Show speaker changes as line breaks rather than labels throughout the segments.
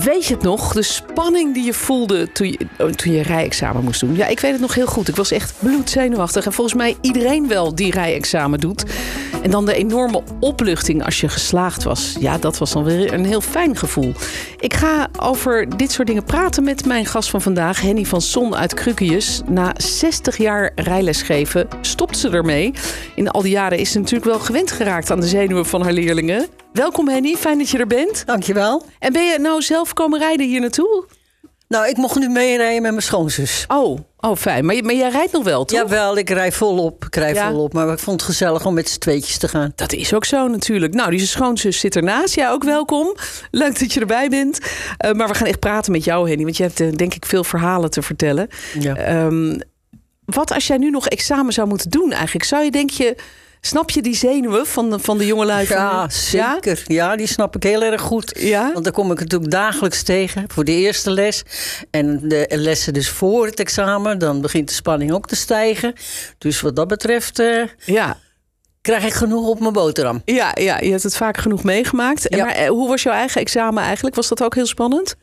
Weet je het nog? De spanning die je voelde toen je, oh, toen je rijexamen moest doen. Ja, ik weet het nog heel goed. Ik was echt bloedzenuwachtig. En volgens mij iedereen wel die rijexamen doet. En dan de enorme opluchting als je geslaagd was. Ja, dat was dan weer een heel fijn gevoel. Ik ga over dit soort dingen praten met mijn gast van vandaag, Henny van Son uit Krukius. Na 60 jaar rijles geven stopt ze ermee. In al die jaren is ze natuurlijk wel gewend geraakt aan de zenuwen van haar leerlingen. Welkom Henny, fijn dat je er bent.
Dankjewel.
En ben je nou zelf komen rijden hier naartoe?
Nou, ik mocht nu meerijden met mijn schoonzus.
Oh, oh fijn. Maar, je- maar jij rijdt nog wel, toch?
Jawel, ik rij volop. Ik rij
Ja.
volop. Maar ik vond het gezellig om met z'n tweetjes te gaan.
Dat is ook zo natuurlijk. Nou, die schoonzus zit ernaast. Ja, ook welkom. Leuk dat je erbij bent. Eh, maar we gaan echt praten met jou, Henny. Want je hebt eh, denk ik veel verhalen te vertellen.
Ja.
Ehm, wat als jij nu nog examen zou moeten doen eigenlijk? Zou je denk je... Snap je die zenuwen van de, van de jongelui? van
Ja,
nu?
zeker. Ja? die snap ik heel erg goed.
Ja?
Want daar kom ik natuurlijk dagelijks tegen voor de eerste les. En de lessen dus voor het examen, dan begint de spanning ook te stijgen. Dus wat dat betreft eh,
Ja?
krijg ik genoeg op mijn boterham.
Ja, ja, ja, je hebt het vaak genoeg meegemaakt. En
Ja.
Maar eh, hoe was jouw eigen examen eigenlijk? Was dat ook heel spannend?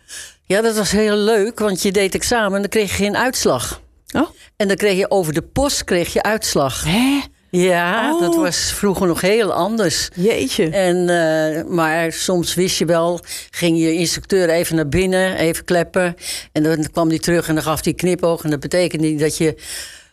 Ja, dat was heel leuk, want je deed examen en dan kreeg je geen uitslag.
Oh.
En dan kreeg je over de post kreeg je uitslag.
Hè?
Ja,
Oh.
dat was vroeger nog heel anders.
Jeetje.
En, eh, maar soms wist je wel, ging je instructeur even naar binnen, even kleppen. En dan kwam hij terug en dan gaf hij knipoog. En dat betekende niet dat je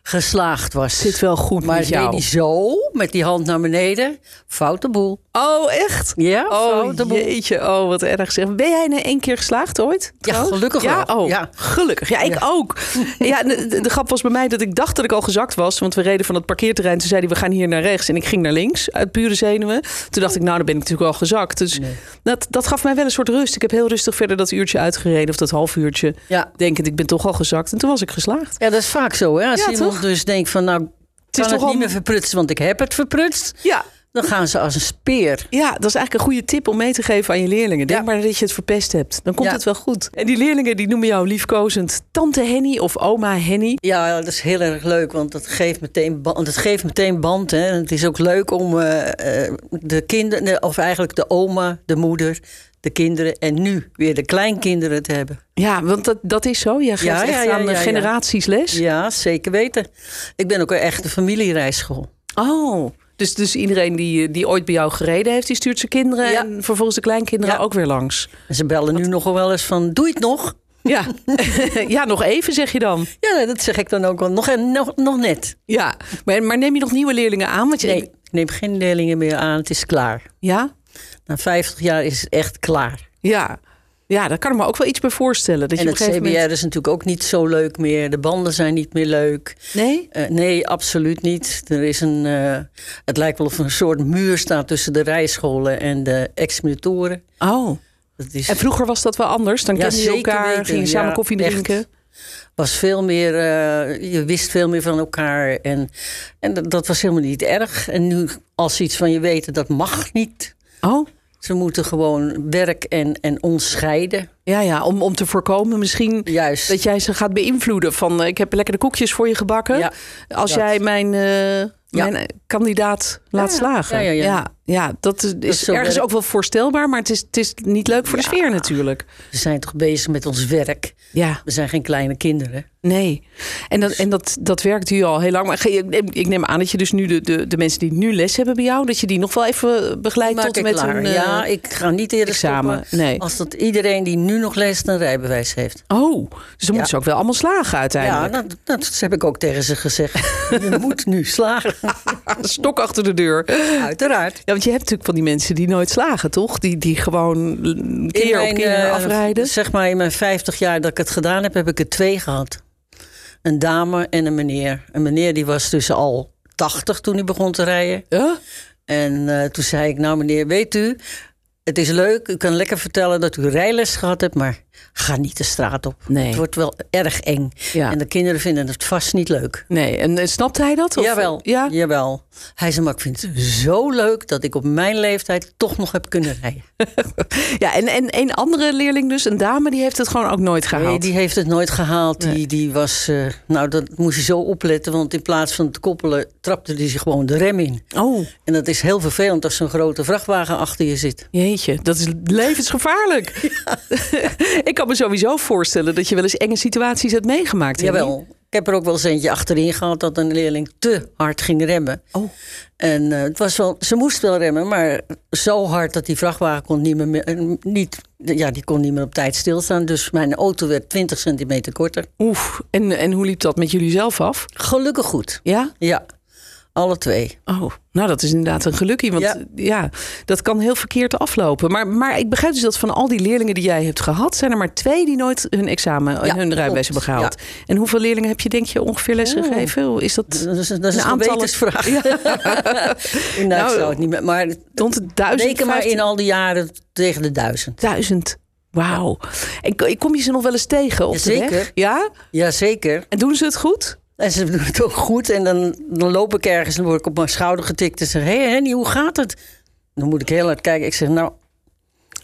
geslaagd was.
zit wel goed
maar
met
deed
jou.
hij zo, met die hand naar beneden. Foute boel.
Oh, echt?
Ja,
Oh,
foute boel.
jeetje. Oh, wat erg zeg. Ben jij nou één keer geslaagd ooit? trouwens?
gelukkig
ja?
wel.
Oh,
Ja.
gelukkig. Ja, ik
Ja.
ook. Ja, de, de- de grap was bij mij dat ik dacht dat ik al gezakt was. Want we reden van het parkeerterrein. Toen zeiden we gaan hier naar rechts. En ik ging naar links uit pure zenuwen. Toen dacht ik, nou, dan ben ik natuurlijk al gezakt. Dus dat, dat gaf mij wel een soort rust. Ik heb heel rustig verder dat uurtje uitgereden. Of dat half uurtje.
Ja.
Denkend, ik ben toch al gezakt. En toen was ik geslaagd.
Ja, dat is vaak zo. Hè? Als
Ja,
iemand
toch?
dus denkt van, nou,
is
kan het
toch
niet
al-
meer verprutsen, want ik heb het verprutst.
Ja,
Dan gaan ze als een speer.
Ja, dat is eigenlijk een goede tip om mee te geven aan je leerlingen. Denk
Ja.
maar dat je het verpest hebt. Dan komt
Ja.
het wel goed. En die leerlingen die noemen jou liefkozend tante Henny of oma Henny.
Ja, dat is heel erg leuk, want dat geeft meteen band. Dat geeft meteen band hè. En het is ook leuk om eh, eh, de kinderen, of eigenlijk de oma, de moeder, de kinderen en nu weer de kleinkinderen te hebben.
Ja, want dat, dat is zo. Jij geeft
Ja,
echt
ja, ja,
aan de
ja, ja.
generaties les.
Ja, zeker weten. Ik ben ook een echte familierijschool.
Oh, dus, dus iedereen die, eh, die ooit bij jou gereden heeft, die stuurt zijn kinderen...
Ja.
en vervolgens de kleinkinderen
Ja.
ook weer langs.
En ze bellen nu nog wel eens van, doe je het nog?
Ja. ja, nog even zeg je dan.
Ja, dat zeg ik dan ook wel. Nog, en nog, nog net.
Ja, maar, maar neem je nog nieuwe leerlingen aan? Want je,
Nee, ik neem geen leerlingen meer aan. Het is klaar.
Ja?
Na 50 jaar is het echt klaar.
Ja. Ja, daar kan ik me ook wel iets bij voorstellen. Dat
En
Dus je
het
op
CBR
een gegeven moment...
is natuurlijk ook niet zo leuk meer. De banden zijn niet meer leuk.
Nee?
Eh, nee, absoluut niet. Er is een, eh, het lijkt wel of er een soort muur staat tussen de rijscholen en de examinatoren.
Oh.
Dat is,
En vroeger was dat wel anders. Dan
Ja,
kenden je
zeker
elkaar,
weten.
gingen samen
Ja,
koffie
echt.
drinken.
was veel meer, eh, je wist veel meer van elkaar. En, en dat, dat was helemaal niet erg. En nu, als ze iets van je weten, dat mag niet.
Oh,
Ze moeten gewoon werk en, en ons scheiden.
ja, ja. Om, om te voorkomen misschien
Juist.
dat jij ze gaat beïnvloeden. Van eh, ik heb lekkere koekjes voor je gebakken.
Ja,
Als
dat.
jij mijn, eh, mijn eh, kandidaat laat
ja.
slagen.
Ja, ja, ja.
ja, dat is, is
zo
ergens
werkt.
ook wel voorstelbaar. Maar het is, het is niet leuk voor de sfeer natuurlijk.
We zijn toch bezig met ons werk.
Ja,
We zijn geen kleine kinderen.
nee. En
Dus
dat, en dat, dat werkt u al heel lang. Maar ge- ik neem- ik neem aan dat je dus nu de, de, de mensen die nu les hebben bij jou... dat je die nog wel even begeleidt
Maak
tot en
ik
met
klaar.
een eh,
ja, ik ga niet eerder
examen.
stoppen
Nee.
Als dat iedereen die nu nog leest een rijbewijs heeft.
Oh, dus dan moeten ze ook wel allemaal slagen
Ja,
uiteindelijk.
dat, dat heb ik ook tegen ze gezegd. Je moet nu slagen.
Stok achter de deur.
Uiteraard.
Ja, want je hebt natuurlijk van die mensen die nooit slagen, toch? Die, die gewoon l- keer op keer
eh,
afrijden.
Zeg maar in mijn 50 jaar dat ik het gedaan heb, heb ik er twee gehad. Een dame en een meneer. Een meneer die was dus al 80 toen hij begon te rijden.
Ja?
En eh, toen zei ik, nou meneer, weet u, Het is leuk, u kan lekker vertellen dat u rijles gehad hebt, maar ga niet de straat op.
Nee.
Het wordt wel erg eng.
Ja.
En de kinderen vinden het vast niet leuk.
Nee, en eh, snapte hij dat? Of-
jawel,
Ja?
jawel. Hij zei, maar ik vind het zo leuk dat ik op mijn leeftijd toch nog heb kunnen rijden.
ja, en, en een andere leerling dus, een dame, die heeft het gewoon ook nooit gehaald.
Nee, die heeft het nooit gehaald.
Nee.
Die, die was, eh, nou dat moest je zo opletten, want in plaats van te koppelen trapte hij zich gewoon de rem in.
Oh,
En dat is heel vervelend als zo'n grote vrachtwagen achter je zit.
jeetje, dat is levensgevaarlijk. ik kan me sowieso voorstellen dat je wel eens enge situaties hebt meegemaakt. Henny.
Jawel. Ik heb er ook wel eens eentje achterin gehad dat een leerling te hard ging remmen.
Oh.
En eh, het was wel, ze moest wel remmen, maar zo hard dat die vrachtwagen kon niet meer, me- eh, niet, ja, die kon niet meer op tijd stilstaan. Dus mijn auto werd 20 centimeter korter.
Oef, en, en hoe liep dat met jullie zelf af?
Gelukkig goed.
Ja?
Ja, alle twee.
Oh, nou dat is inderdaad een gelukkie, want eh, ja,
Ja.
dat kan heel verkeerd aflopen. Maar, maar ik begrijp dus dat van al die leerlingen die jij hebt gehad, zijn er maar twee die nooit hun examen, en
Ja,
hun rijbewijs
klopt,
hebben gehaald. En hoeveel leerlingen heb je denk je ongeveer lessen
Oeh.
gegeven? Hoe Is dat
Dat is, dat is
Een
een,
aantal-
gewetensvraag. nou,
Nou,
ik zou het niet meer. Maar
rond de duizend?
reken maar in al die jaren tegen de duizend.
Duizend. Wauw. En ko- kom je ze nog wel eens tegen op de
Jazeker.
weg? Ja?
Jazeker.
En doen ze het goed?
En ze doen het ook goed. En dan, dan loop ik ergens en word ik op mijn schouder getikt. En zeg, hé hey, Henny, hoe gaat het? Dan moet ik heel hard kijken. Ik zeg, nou,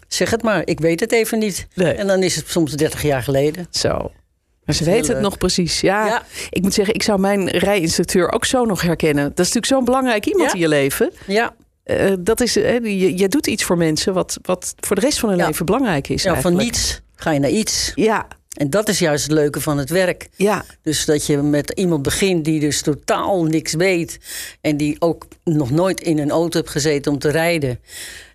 zeg het maar. Ik weet het even niet.
Nee.
En dan is het soms 30 jaar geleden.
Zo. Maar ze
is heel
weten het
leuk.
nog precies. Ja,
Ja.
ik moet zeggen, ik zou mijn rijinstructeur ook zo nog herkennen. Dat is natuurlijk zo'n belangrijk iemand
Ja.
in je leven.
Ja,
Eh, dat is, eh, je, je doet iets voor mensen wat, wat voor de rest van hun
Ja.
leven belangrijk is.
ja van
eigenlijk.
niets ga je naar iets.
Ja,
En dat is juist het leuke van het werk.
ja,
Dus dat je met iemand begint die dus totaal niks weet. En die ook nog nooit in een auto heeft gezeten om te rijden.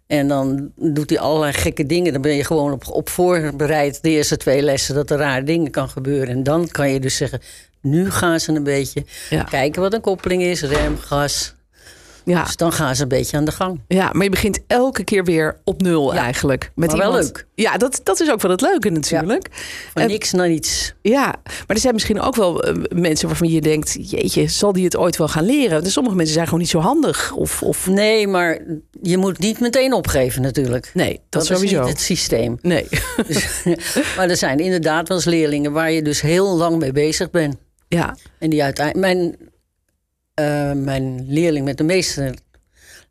En dan doet hij allerlei gekke dingen. Dan ben je gewoon op, op voorbereid de eerste twee lessen dat er rare dingen kan gebeuren. En dan kan je dus zeggen, nu gaan ze een beetje
Ja.
kijken wat een koppeling is. Rem, gas.
ja,
Dus dan gaan ze een beetje aan de gang.
ja. Maar je begint elke keer weer op nul
Ja.
eigenlijk. Met
Maar wel
iemand-
leuk.
Ja, dat, dat is ook wel het leuke natuurlijk.
Van
Eh,
niks naar iets.
Ja, maar er zijn misschien ook wel eh, mensen waarvan je denkt... jeetje, zal die het ooit wel gaan leren? Dus sommige mensen zijn gewoon niet zo handig. Of, of...
Nee, maar je moet niet meteen opgeven natuurlijk.
Nee, dat,
dat is
sowieso.
niet het systeem.
Nee,
Dus, maar er zijn inderdaad wel eens leerlingen waar je dus heel lang mee bezig bent.
ja.
En die uiteindelijk. Mijn, eh, mijn leerling met de meeste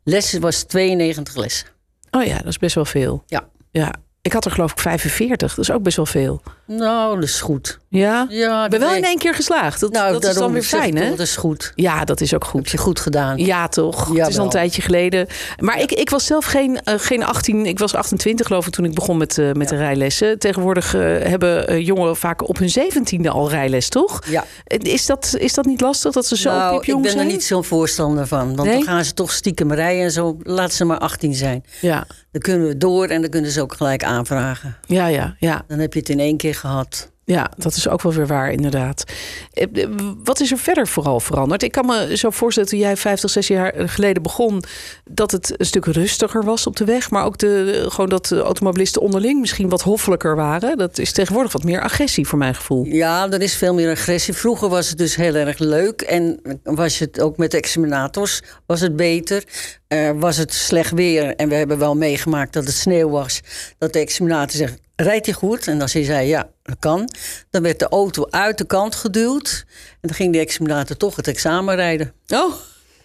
lessen was 92 lessen.
Oh ja, dat is best wel veel.
Ja.
ja. Ik had er geloof ik 45, dat is ook best wel veel.
Nou, dat is goed.
Ja,
Ja,
ik ben wel in
Ah, weet-
één keer geslaagd. Dat,
Nou,
dat is dan
daarom
weer
zeg ik
fijn,
toch,
hè?
Dat is goed.
Ja, dat is ook
Heb
goed.
je goed gedaan.
Ja, toch? het is al
Jawel.
een tijdje geleden. Maar ik, ik was zelf geen, eh, geen 18, ik was 28 geloof ik toen ik begon met, eh, met de rijlessen. Tegenwoordig eh, hebben eh, jongeren vaak op hun zeventiende al rijles, toch?
Ja.
Eh, Is dat, is dat niet lastig dat ze zo
nou, ik
piepjong
ben
zijn?
er niet zo'n voorstander van. Want
Nee?
dan gaan ze toch stiekem rijden en zo. Laat ze maar 18 zijn.
Ja,
Dan kunnen we door en dan kunnen ze ook gelijk aanvragen.
ja, ja, ja,
Dan heb je het in één keer gehad.
ja, dat is ook wel weer waar inderdaad. Eh, eh, Wat is er verder vooral veranderd? Ik kan me zo voorstellen toen jij 50, 60 jaar geleden begon... dat het een stuk rustiger was op de weg. Maar ook de, gewoon dat de automobilisten onderling misschien wat hoffelijker waren. Dat is tegenwoordig wat meer agressie voor mijn gevoel.
Ja, er is veel meer agressie. Vroeger was het dus heel erg leuk. En was het ook met de examinators was het beter. Eh, was het slecht weer. En we hebben wel meegemaakt dat het sneeuw was. Dat de examinator zegt, rijdt hij goed? En als hij zei, ja, dat kan. Dan werd de auto uit de kant geduwd. En dan ging de examinator toch het examen rijden.
Oh,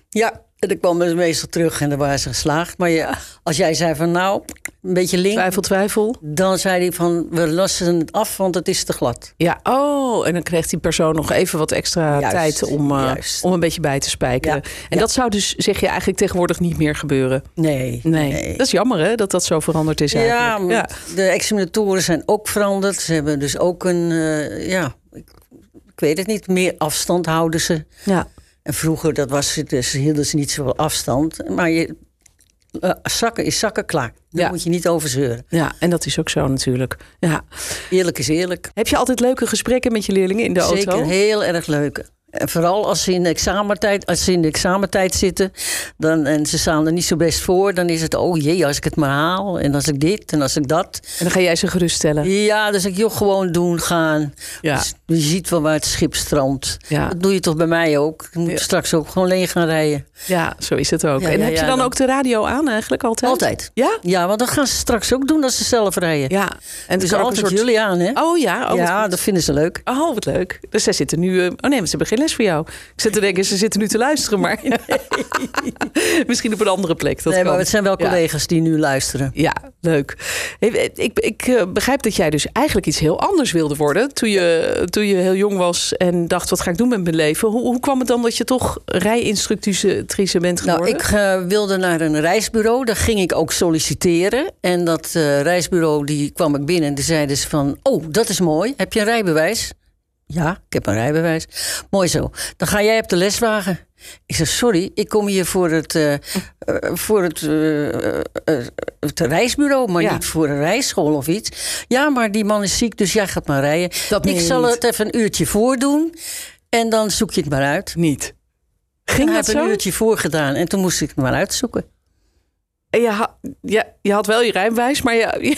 Ja, en dan kwam ze meestal terug en dan waren ze geslaagd. Maar ja, als jij zei van, nou, een beetje link.
twijfel, twijfel.
Dan zei hij van, we lossen het af, want het is te glad.
Ja, oh, en dan kreeg die persoon nog even wat extra
Juist,
tijd om, eh,
juist.
om een beetje bij te spijkeren.
Ja,
en
ja.
dat zou dus, zeg je, eigenlijk tegenwoordig niet meer gebeuren.
Nee,
Nee, dat is jammer hè, dat dat zo veranderd is
Ja,
eigenlijk.
maar de examinatoren zijn ook veranderd. Ze hebben dus ook een, eh, ja, ik, ik weet het niet, meer afstand houden ze.
ja.
En vroeger dat was, het dus, hielden ze niet zoveel afstand. Maar je, eh, zakken is zakken klaar. Daar
Ja.
moet je niet over zeuren.
ja, en dat is ook zo natuurlijk. Ja.
Eerlijk is eerlijk.
Heb je altijd leuke gesprekken met je leerlingen in de
Zeker
auto?
heel erg leuk. En vooral als ze, in de examentijd, als ze in de examentijd zitten dan, en ze staan er niet zo best voor, dan is het, oh jee, als ik het maar haal en als ik dit en als ik dat.
En dan ga jij ze geruststellen.
Ja, dus ik joh, gewoon doen, gaan.
Ja.
Dus je ziet wel waar het schip strandt.
Ja.
Dat doe je toch bij mij ook. Je moet
Ja.
straks ook gewoon leeg gaan rijden.
Ja, zo is het ook.
Ja,
en
ja,
heb je
ja,
dan
dan-
ook de radio aan eigenlijk altijd?
Altijd.
Ja?
Ja, want dat gaan ze straks ook doen als ze zelf rijden.
Ja. En dus
En dus
kan ook
altijd
een soort...
jullie aan, hè?
Oh ja, oh,
ja,
ja.
dat vinden ze leuk.
Oh, wat leuk. Dus zij zitten nu... eh, Oh nee, maar ze hebben geen les voor jou. Ik zit te denken, ze zitten nu te luisteren, maar... Misschien op een andere plek. Dat
nee, maar
kan.
het zijn wel
Ja.
collega's die nu luisteren.
Ja, leuk. Hey, Ik, ik eh, begrijp dat jij dus eigenlijk iets heel anders wilde worden toen je, toen je heel jong was en dacht, wat ga ik doen met mijn leven? Hoe, hoe kwam het dan dat je toch rijinstructrice bent geworden?
Nou, ik eh, wilde naar een reisbureau. Daar ging ik ook solliciteren. En dat eh, reisbureau, die kwam ik binnen. En die zeiden ze van, oh, dat is mooi. Heb je een rijbewijs? Ja, ik heb een rijbewijs. Mooi zo. Dan ga jij op de leswagen. Ik zei, sorry, ik kom hier voor het, eh, eh, voor het, eh, eh, eh, het reisbureau, maar
Ja.
niet voor een rijschool of iets. Ja, maar die man is ziek, dus jij gaat maar rijden.
Dat
ik
meen je
zal
niet.
het even een uurtje voordoen en dan zoek je het maar uit.
niet. Ging
Ik
dat
heb een
zo?
uurtje voor gedaan en toen moest ik het maar uitzoeken.
En je, ha- ja, je had wel je rijbewijs, maar je, je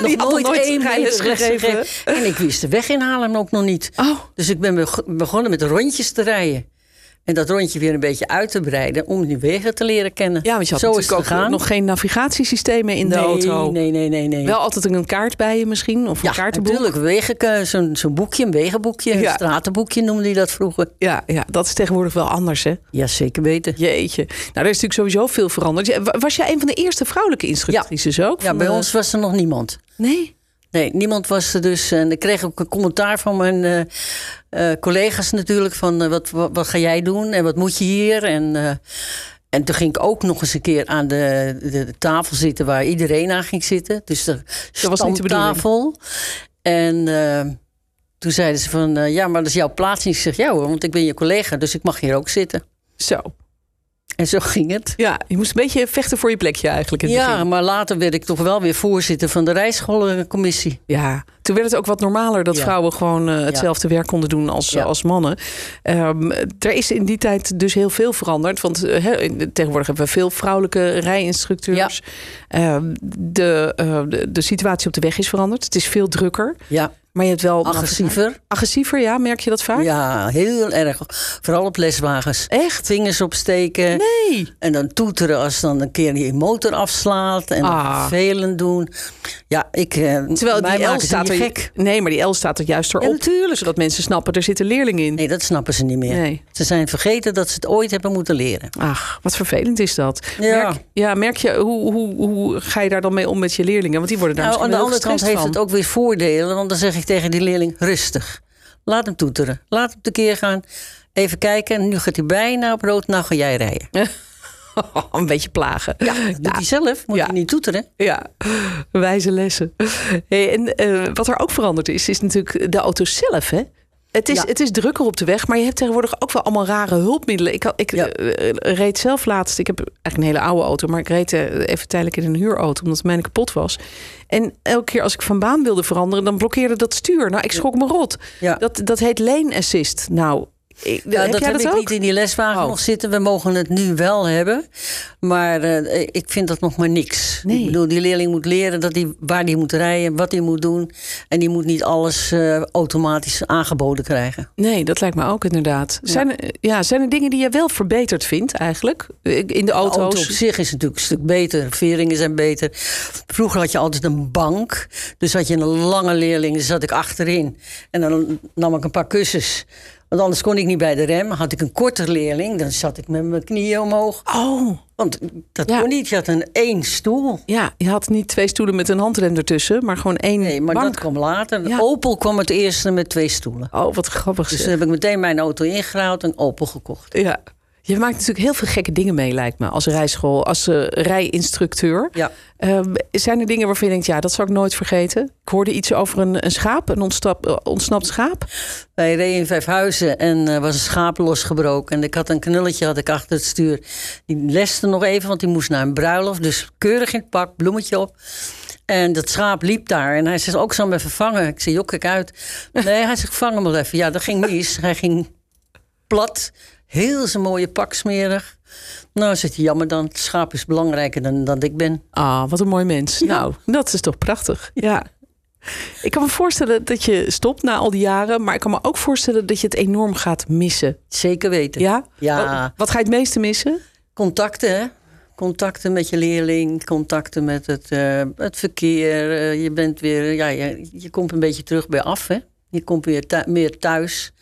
Nog
had nog
nooit één
rijles
meter
gegeven.
lesgegeven. En ik wist de weg in Haarlem ook nog niet.
Oh,
Dus ik ben beg- begonnen met rondjes te rijden. En dat rondje weer een beetje uit te breiden om die wegen te leren kennen.
ja, want je had
Zo is het
natuurlijk ook
gegaan.
nog geen navigatiesystemen in de
nee,
auto.
Nee, nee, nee, nee.
Wel altijd een kaart bij je misschien, of een
ja,
kaartenboek.
natuurlijk. Wegenkeu- Zo'n zo'n boekje, een wegenboekje,
Ja.
een stratenboekje noemde je dat vroeger.
Ja, ja, dat is tegenwoordig wel anders, hè?
Ja, zeker weten.
Jeetje. Nou, er is natuurlijk sowieso veel veranderd. Ja, wa- Was jij een van de eerste vrouwelijke instructrices ook?
Ja,
Van
bij
de-
ons was er nog niemand.
Nee.
Nee, niemand was er dus. En ik kreeg ook een commentaar van mijn eh, eh, collega's natuurlijk. Van eh, wat, wat, wat ga jij doen en wat moet je hier? En, eh, en toen ging ik ook nog eens een keer aan de, de, de tafel zitten waar iedereen aan ging zitten. Dus de
Dat was niet de bedoeling.
stamtafel. En eh, toen zeiden ze van eh, ja, maar dat is jouw plaats. En ik zeg ja hoor, want ik ben je collega, dus ik mag hier ook zitten.
Zo.
En zo ging het.
Ja, je moest een beetje vechten voor je plekje eigenlijk. In het
Ja,
begin.
maar later werd ik toch wel weer voorzitter van de rijscholencommissie.
ja. Toen werd het ook wat normaler dat
Ja.
vrouwen gewoon eh, hetzelfde werk konden doen als,
Ja.
als mannen. Ehm, er is in die tijd dus heel veel veranderd. Want eh, hè, in- tegenwoordig hebben we veel vrouwelijke rijinstructeurs. Ehm, de, eh, de, de situatie op de weg is veranderd. Het is veel drukker.
Ja,
Maar je hebt wel
agressiever.
agressiever, ja, merk je dat vaak?
Ja, heel erg. Vooral op leswagens.
Echt?
Vingers opsteken
Nee.
en dan toeteren als dan een keer je motor afslaat. En
Ah.
dan vervelend doen. Ja, ik... eh,
Terwijl
mij
die L
maken ze
staat er
niet gek.
Nee, maar die L staat er juist erop.
Ja,
natuurlijk. Zodat mensen snappen, er zit een leerling in.
Nee, dat snappen ze niet meer.
Nee.
Ze zijn vergeten dat ze het ooit hebben moeten leren.
Ach, wat vervelend is dat.
Ja.
Merk, ja, merk je, hoe, hoe, hoe ga je daar dan mee om met je leerlingen? Want die worden daar
Nou, aan de
misschien wel
andere
heel
kant heeft
gestrest
het ook weer voordelen. Want dan zeg ik tegen die leerling, rustig. Laat hem toeteren. Laat hem tekeer gaan. Even kijken. Nu gaat hij bijna op rood. Nou ga jij rijden.
van. een beetje plagen. Ja,
Dat doet hij zelf. Moet
Ja.
hij niet toeteren.
ja. wijze lessen. Hey, en eh, wat er ook veranderd is, is natuurlijk de auto zelf, hè? Het is,
Ja.
het is drukker op de weg, maar je hebt tegenwoordig ook wel allemaal rare hulpmiddelen. Ik, had- ik
Ja.
eh, reed zelf laatst, ik heb eigenlijk een hele oude auto, maar ik reed eh, even tijdelijk in een huurauto omdat mijn kapot was. En elke keer als ik van baan wilde veranderen, dan blokkeerde dat stuur. Nou, ik schrok me rot.
Ja.
Dat, dat heet lane assist. Nou, ik,
Ja,
heb
dat
jij
heb
dat
ik
ook?
niet in die leswagen
Oh.
nog zitten. We mogen het nu wel hebben. Maar eh, ik vind dat nog maar niks.
Nee.
Ik bedoel, die leerling moet leren dat die, waar hij moet rijden, wat hij moet doen. En die moet niet alles eh, automatisch aangeboden krijgen.
Nee, dat lijkt me ook inderdaad. Zijn, Er, ja, zijn er dingen die je wel verbeterd vindt eigenlijk? Eh, In de auto's?
De auto op zich is natuurlijk een stuk beter. Veringen zijn beter. Vroeger had je altijd een bank. Dus had je een lange leerling, daar zat ik achterin. En dan nam ik een paar kussens. Want anders kon ik niet bij de rem. Had ik een korter leerling, dan zat ik met mijn knieën omhoog.
Oh,
Want dat
Ja.
kon niet. Je had een één stoel.
ja. Je had niet twee stoelen met een handrem ertussen, maar gewoon één
Nee, maar
bank.
dat kwam later.
Ja.
Opel kwam het eerste met twee stoelen.
Oh, wat grappig
Dus
zeg.
toen heb ik meteen mijn auto ingehaald en Opel gekocht.
Ja. Je maakt natuurlijk heel veel gekke dingen mee, lijkt me, als rijschool, als eh, rijinstructeur.
Ja.
Ehm, zijn er dingen waarvan je denkt, ja, dat zou ik nooit vergeten? Ik hoorde iets over een, een schaap, een ontstap, eh, ontsnapt schaap.
Wij reden in Vijfhuizen en eh, was een schaap losgebroken. En ik had een knulletje had ik achter het stuur. Die leste nog even, want die moest naar een bruiloft. Dus keurig in het pak, bloemetje op. En dat schaap liep daar. En hij zegt, ook zal me vervangen. Ik zei, jok, kijk uit. Nee, hij zegt, vang hem wel even. Ja, dat ging mis. Hij ging plat. Heel zijn mooie pak smerig. Nou, zit je jammer dan. Het schaap is belangrijker dan dat ik ben.
Ah, wat een mooi mens. Nou, dat is toch prachtig. Ja. Ik kan me voorstellen dat je stopt na al die jaren, maar ik kan me ook voorstellen dat je het enorm gaat missen.
Zeker weten.
Ja? Oh.
Ja.
Wat, wat ga je het meeste missen?
Contacten, hè? Contacten met je leerling, contacten met het, eh, het verkeer. Eh, je bent weer, ja, je, je komt een beetje terug bij af, hè? Je komt weer thu- meer thuis.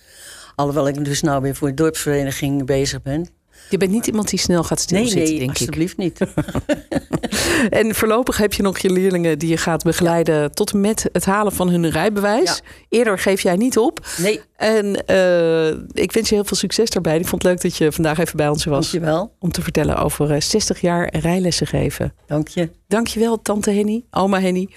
Alhoewel ik dus nou weer voor de dorpsvereniging bezig ben.
Je bent niet iemand die snel gaat
Nee,
stilzitten,
nee,
denk ik.
alsjeblieft niet.
En voorlopig heb je nog je leerlingen die je gaat begeleiden tot en met het halen van hun rijbewijs. Eerder geef jij niet op.
Nee,
En eh, ik wens je heel veel succes daarbij. Ik vond het leuk dat je vandaag even bij ons was
dankjewel.
om te vertellen over eh, 60 jaar rijlessen geven.
Dank je.
Dankjewel, tante Henny, oma Henny.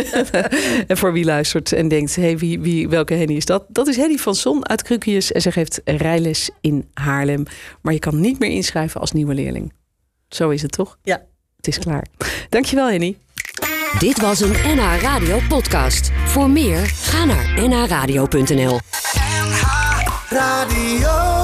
en voor wie luistert en denkt, hey, wie, wie, welke Henny is dat? Dat is Henny van Son uit Krukius en ze geeft rijles in Haarlem. Maar je kan niet meer inschrijven als nieuwe leerling. Zo is het toch?
Ja.
Het is klaar. Dankjewel, Henny.
Dit was een NH Radio podcast. Voor meer, ga naar nhradio.nl.
NH Radio.